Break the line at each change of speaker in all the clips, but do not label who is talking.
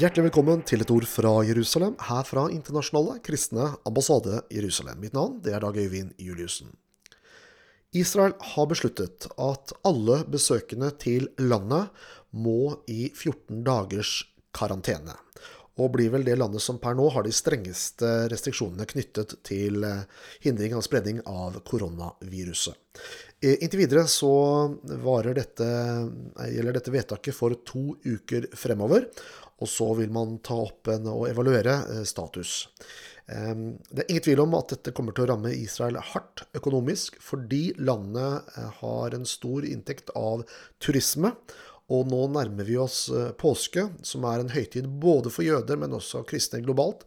Hjertelig velkommen til Et ord fra Jerusalem, her fra Internasjonale kristne ambassade Jerusalem. Mitt navn det er Dag Øyvind Juliussen. Israel har besluttet at alle besøkende til landet må i 14 dagers karantene. Og blir vel det landet som per nå har de strengeste restriksjonene knyttet til eh, hindring av spredning av koronaviruset. Eh, Inntil videre så varer dette, eh, gjelder dette vedtaket for to uker fremover. Og så vil man ta opp en, og evaluere eh, status. Ehm, Det er ingen tvil om at dette kommer til å ramme Israel hardt økonomisk, fordi landet eh, har en stor inntekt av turisme. Og nå nærmer vi oss eh, påske, som er en høytid både for jøder, men også kristne globalt,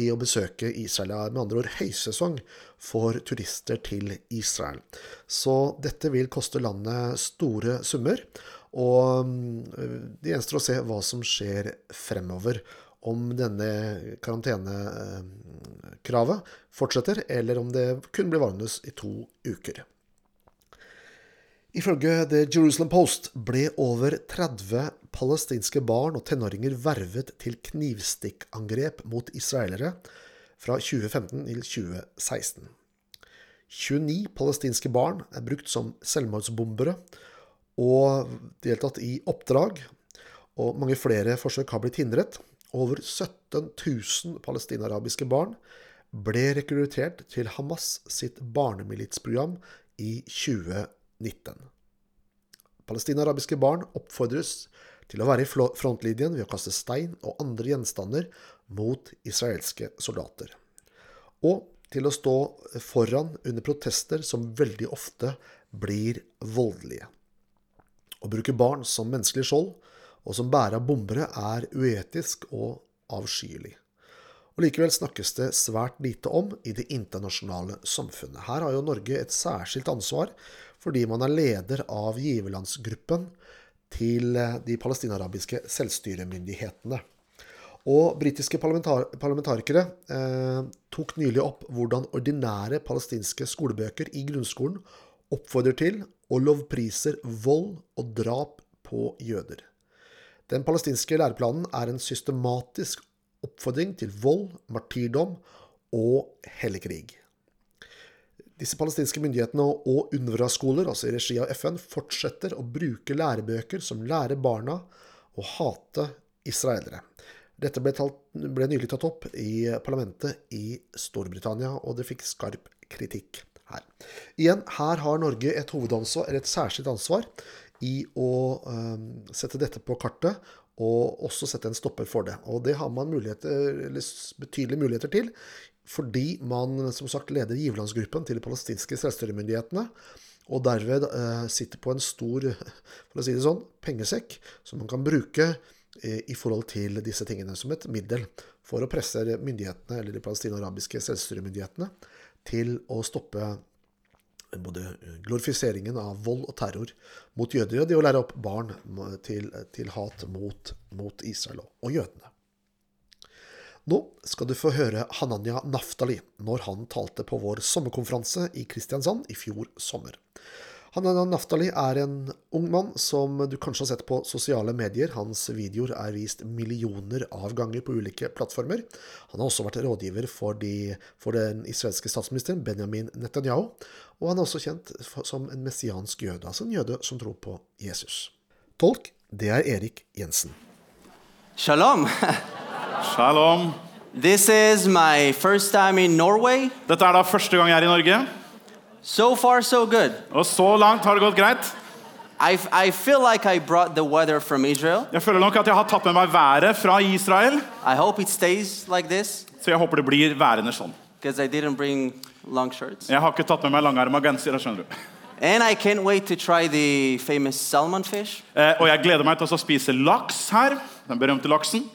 i å besøke Israel. Det er med andre ord høysesong for turister til Israel. Så dette vil koste landet store summer. Og mm, det gjenstår å se hva som skjer fremover. Om denne karantenekravet fortsetter, eller om det kun blir varende i to uker. Ifølge The Jerusalem Post ble over 30 palestinske barn og tenåringer vervet til knivstikkangrep mot israelere fra 2015 til 2016. 29 palestinske barn er brukt som selvmordsbombere og deltatt i oppdrag, og mange flere forsøk har blitt hindret. Over 17 000 palestinarabiske barn ble rekruttert til Hamas sitt barnemilitsprogram i 2019. Palestinarabiske barn oppfordres til å være i flo- frontlinjen ved å kaste stein og andre gjenstander mot israelske soldater og til å stå foran under protester som veldig ofte blir voldelige. Å bruke barn som menneskelig skjold og som bærer av bombere er uetisk og avskyelig. Og Likevel snakkes det svært lite om i det internasjonale samfunnet. Her har jo Norge et særskilt ansvar fordi man er leder av giverlandsgruppen til eh, de palestinarabiske selvstyremyndighetene. Og britiske parlamentar parlamentarikere eh, tok nylig opp hvordan ordinære palestinske skolebøker i grunnskolen oppfordrer til og lovpriser vold og drap på jøder. Den palestinske læreplanen er en systematisk oppfordring til vold, martyrdom og hellig krig. Disse palestinske myndighetene og UNRWA-skoler, altså i regi av FN, fortsetter å bruke lærebøker som lærer barna å hate israelere. Dette ble, talt, ble nylig tatt opp i parlamentet i Storbritannia, og det fikk skarp kritikk her. Igjen, her har Norge et hovedansvar, eller et særskilt ansvar, i å eh, sette dette på kartet, og også sette en stopper for det. Og det har man muligheter, eller s- betydelige muligheter til, fordi man som sagt leder giverlandsgruppen til de palestinske selvstyremyndighetene, og derved eh, sitter på en stor for å si det sånn, pengesekk som man kan bruke eh, i forhold til disse tingene som et middel for å presse myndighetene, eller de palestinarabiske selvstyremyndighetene, til å stoppe både glorifiseringen av vold og terror mot jøder, og det å lære opp barn til, til hat mot, mot Israel og- og jødene. Nå skal du få høre Hananya Naftali når han talte på vår sommerkonferanse i Kristiansand i fjor sommer. Hananya Naftali er en ung mann som du kanskje har sett på sosiale medier. Hans videoer er vist millioner av ganger på ulike plattformer. Han har også vært rådgiver for, de, for den israelske statsministeren Benjamin Netanyahu. Og han er også kjent for- som en messiansk jøde, altså en jøde som tror på Jesus. Tolk, det er Erik Jensen.
Shalom.
Shalom.
This is my first time in Norway.
Dette er da første gang jeg er i Norge,
So far, so good.
og så langt har det gått greit.
I, I feel like I brought the weather from Israel.
Jeg føler nok at jeg har tatt med meg været fra Israel,
I hope it stays like this
så jeg håper det blir værende sånn.
because I didn't bring long shirts.
Jeg har ikke tatt med meg langarma genser, jeg skjønner du.
And I can't wait to try the famous salmon fish.
Eh, og jeg gleder meg til å spise laks her, den berømte laksen.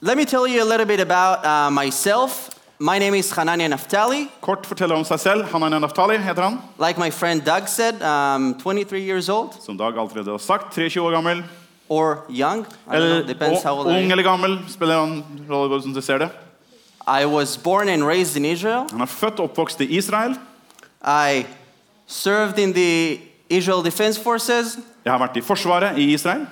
Let me tell you a little bit about uh, myself. My name is Hanania Naftali.
Kort fortelle om seg selv. Hananya Naftali heter han.
Like my friend Doug said, I'm 23 years old
Som Dag allerede har sagt, 23 år gammel.
or young. I don't know,
Eller,
depends how
og,
old I
ung
am.
eller gammel, spiller han rolle hvor som du ser det.
I was born and raised in Israel.
Han er født og oppvokst i Israel.
I served in the Israel Defense Forces,
Jeg har vært i Forsvaret i Israel.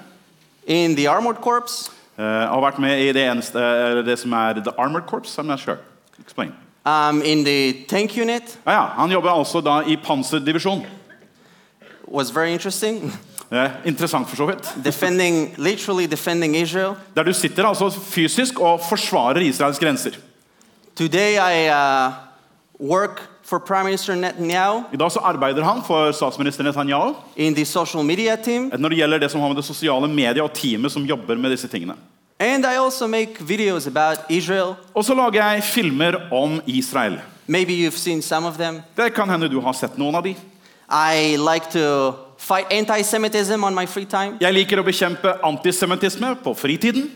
in the Armored Corps,
Eh, Eh, har vært med i det, eneste, eller det som er The Armored Corps. I'm not sure. Explain.
um, in the tank unit.
Ja, ja, han jobba altså da i panserdivisjon.
Was very interesting.
Eh, interessant, for så vidt.
defending, literally defending Israel.
Der du sitter altså fysisk og forsvarer Israels grenser.
Today I uh, work for Prime Minister Netanyahu
I dag så arbeider han for statsminister Netanyahu
in the social media team,
eh, når det gjelder det som har med det sosiale media og teamet som jobber med disse tingene.
and I also make videos about Israel.
Og så lager jeg filmer om Israel.
Maybe you've seen some of them.
Det kan hende du har sett noen av de.
I like to fight anti-Semitism on my free time
Jeg liker å bekjempe antisemittisme på fritiden.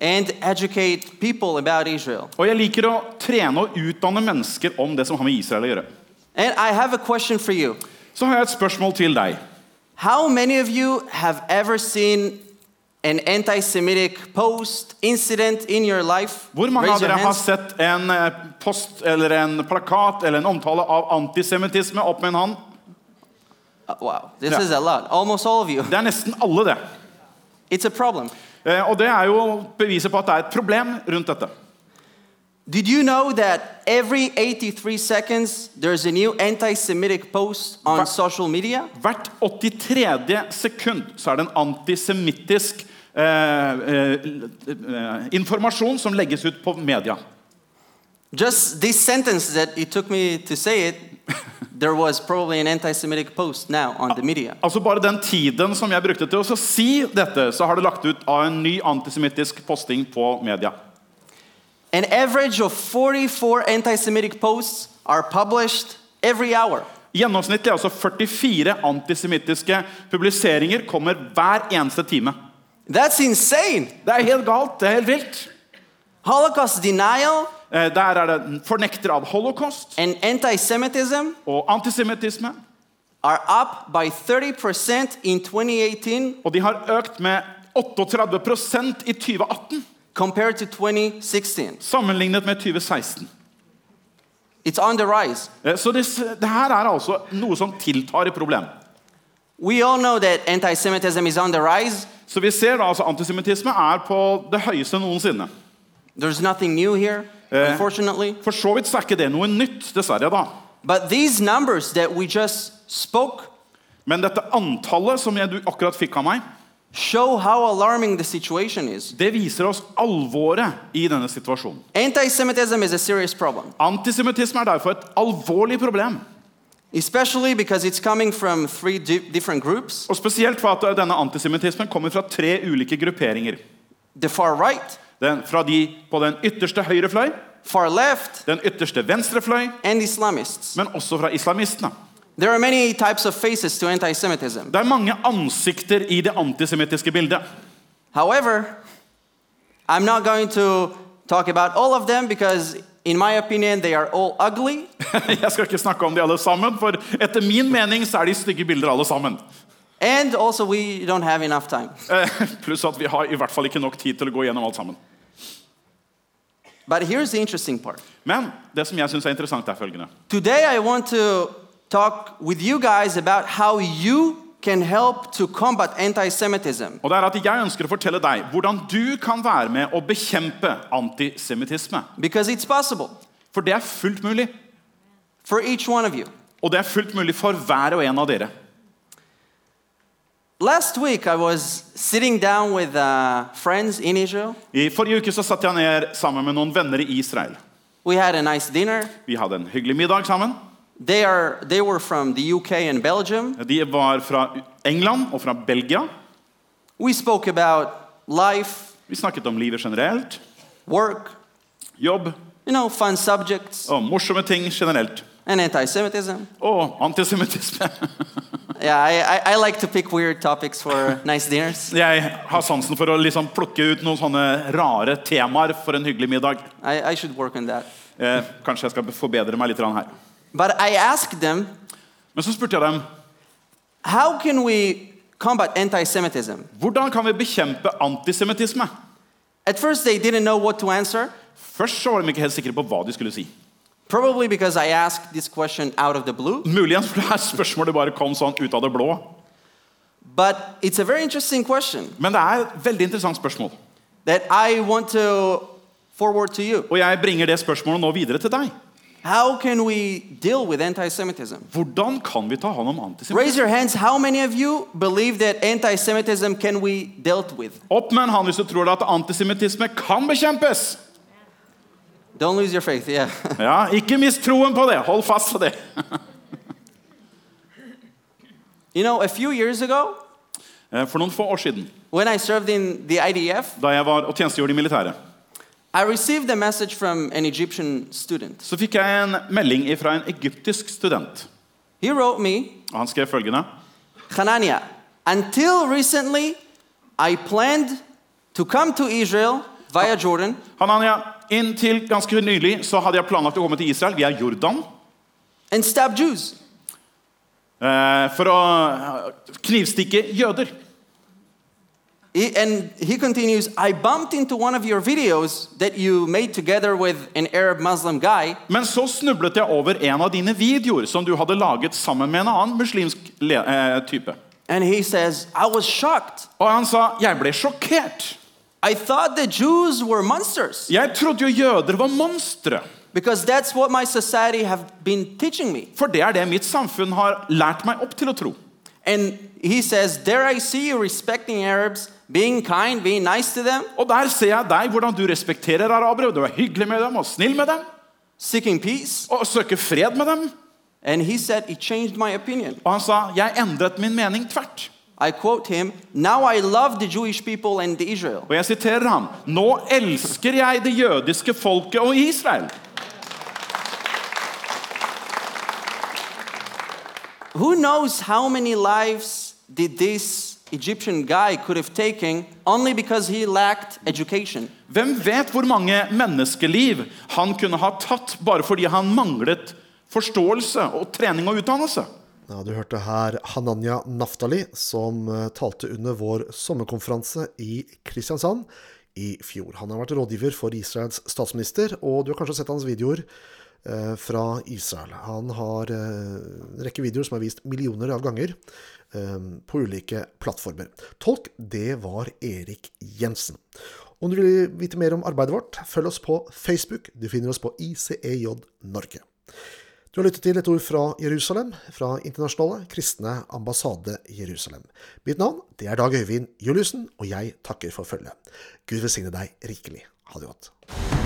and educate people about Israel.
Og jeg liker å trene og utdanne mennesker om det som har med Israel å gjøre.
And I have a question for you.
Så har jeg et spørsmål til deg.
How many of you have ever seen an anti-Semitic post incident in your life?
Hvor mange
Raise
av
your
dere har
hands.
sett en eh, post eller en plakat eller en omtale av antisemittisme opp med en hånd?
Uh, wow, this
Yeah.
is a lot. Almost all of you.
Det er nesten alle, det.
It's a problem.
Eh, Og det er jo beviset på at det er et problem rundt dette.
Did you know that every 83 seconds there's a new anti Semitic post on
Fa-
social media?
Hvert 83. sekund så er det en antisemittisk eh, eh, eh, informasjon som legges ut på media.
Just this sentence that it took me to say it, there was probably an anti Semitic post now on the media.
Altså Bare den tiden som jeg brukte til å så si dette, så har det lagt ut av en ny antisemittisk posting på media.
An average of 44 anti Semitic posts are published every hour.
Gjennomsnittlig altså 44 antisemittiske publiseringer kommer hver eneste time.
That's insane!
Det er helt galt. Det er helt vilt.
Holocaust denial
Eh, Der er det fornekter av holocaust
and anti Semitism
og antisemittisme.
are up by 30% in 2018
Og de har økt med 38 i 2018
compared to 2016.
sammenlignet med 2016.
It's on the rise.
Eh, Så det, det her er altså noe som tiltar i problem.
We all know that anti Semitism is on the rise.
Så vi ser da altså antisemittisme er på det høyeste noensinne.
There's nothing new here,
Eh.
unfortunately.
For så vidt så er ikke det noe nytt, dessverre. da.
But these numbers that we just spoke
Men dette antallet som jeg, du akkurat fikk av meg,
show how alarming the situation is.
det viser oss alvoret i denne situasjonen.
Anti Semitism is a serious problem,
Antisemittisme er derfor et alvorlig problem.
especially because it's coming from three di- different groups
Og Spesielt for at denne antisemittismen kommer fra tre ulike grupperinger.
the far right,
Den, fra de på den ytterste høyre fløy,
far left,
den ytterste venstre fløy,
and Islamists.
men også fra islamistene.
There are many types of faces to anti Semitism.
Det er mange ansikter i det antisemittiske bildet.
However, I'm not going to talk about all of them because, in my opinion, they are all ugly
Jeg skal ikke snakke om de alle sammen, for etter min mening så er de stygge bilder alle sammen.
And also, we don't have enough time.
Eh, Pluss at vi har i hvert fall ikke nok tid til å gå gjennom alt sammen.
But here's the interesting part.
Men det som jeg synes er interessant, er følgende.
Today, I want to talk with you guys about how you can help to combat anti Semitism.
Og det er at Jeg ønsker å fortelle deg hvordan du kan være med å bekjempe antisemittisme.
Because it's possible
For det er fullt mulig.
for each one of you.
Og det er fullt mulig for hver og en av dere.
Last week, I was sitting down with uh, friends in Israel.
I forrige uke så satt jeg ned sammen med noen venner i Israel.
We had a nice dinner.
Vi hadde en hyggelig middag sammen.
They, are, they were from the UK and Belgium.
De var fra England og fra Belgia.
We spoke about life,
Vi snakket om livet generelt,
work,
jobb
you know, fun subjects,
og morsomme ting generelt.
and anti Semitism.
Og antisemittisme.
Yeah, I, I, I like to pick weird topics for nice dinners.
Jeg har sansen for å liksom plukke ut noen sånne rare temaer for en hyggelig middag.
I, I should work on that.
Eh, kanskje jeg skal forbedre meg litt grann her.
But I asked them,
Men så spurte jeg dem
how can we combat anti Semitism?
hvordan kan vi bekjempe antisemittisme.
At first, they didn't know what to answer,
Først så var de ikke helt sikre på hva de skulle si.
probably because I asked this question out of the blue.
Muligens for det her spørsmålet bare kom sånn ut av det blå.
But it's a very interesting question
Men det er et veldig interessant spørsmål.
that I want to forward to you.
Og jeg bringer det spørsmålet nå videre til deg.
How can we deal with anti Semitism?
Hvordan kan vi ta hånd om antisemittisme?
Raise your hands. How many of you believe that anti Semitism can be dealt with?
Opp med en hånd hvis du tror at antisemittisme kan bekjempes.
Don't lose your faith, yeah.
Ja, Ikke mist troen på det. Hold fast på det.
you know, a few years ago,
Eh, For noen få år siden,
when I served in the IDF,
da jeg var og tjenestegjorde i militæret,
I received a message from an Egyptian student.
så fikk jeg en melding fra en egyptisk student.
He wrote me,
Og Han skrev følgende
Hanania, until recently, I planned to come to Israel via Jordan,
Hanania, inntil ganske nylig så hadde jeg planlagt å komme til Israel via Jordan
and stab Jews.
eh, for å eh, knivstikke jøder.
He- and he continues, I bumped into one of your videos that you made together with an Arab Muslim guy,
Men så snublet jeg over en av dine videoer som du hadde laget sammen med en annen muslimsk le eh, type.
and he says, I was shocked.
Og han sa, jeg ble sjokkert.
I thought the Jews were monsters
Jeg trodde jo jøder var monstre.
because that's what my society have been teaching me.
For det er det mitt samfunn har lært meg opp til å tro.
And he says, There I see you respecting Arabs, being kind, being nice to them,
Og der ser jeg deg, hvordan du respekterer arabere. Du er hyggelig med dem og snill med dem.
seeking peace.
Og søker fred med dem.
And he said, He changed my opinion.
Og han sa, jeg endret min mening tvert.
I quote him, Now I love the Jewish people and Israel.
Og jeg siterer ham. Nå elsker jeg det jødiske folket og Israel.
Who knows how many lives did this Egyptian guy could have taken only because he lacked education?
Hvem vet hvor mange menneskeliv han kunne ha tatt bare fordi han manglet forståelse og trening og utdannelse?
Ja, du hørte her Hananya Naftali, som eh, talte under vår sommerkonferanse i Kristiansand i fjor. Han har vært rådgiver for Israels statsminister, og du har kanskje sett hans videoer eh, fra Israel. Han har eh, en rekke videoer som er vist millioner av ganger eh, på ulike plattformer. Tolk, det var Erik Jensen. Om du vil vite mer om arbeidet vårt, følg oss på Facebook. Du finner oss på ICEJ Norge. Du har lyttet til et ord fra Jerusalem, fra Internasjonale kristne ambassade Jerusalem. Mitt navn det er Dag Øyvind Juliussen, og jeg takker for følget. Gud velsigne deg rikelig. Ha det godt.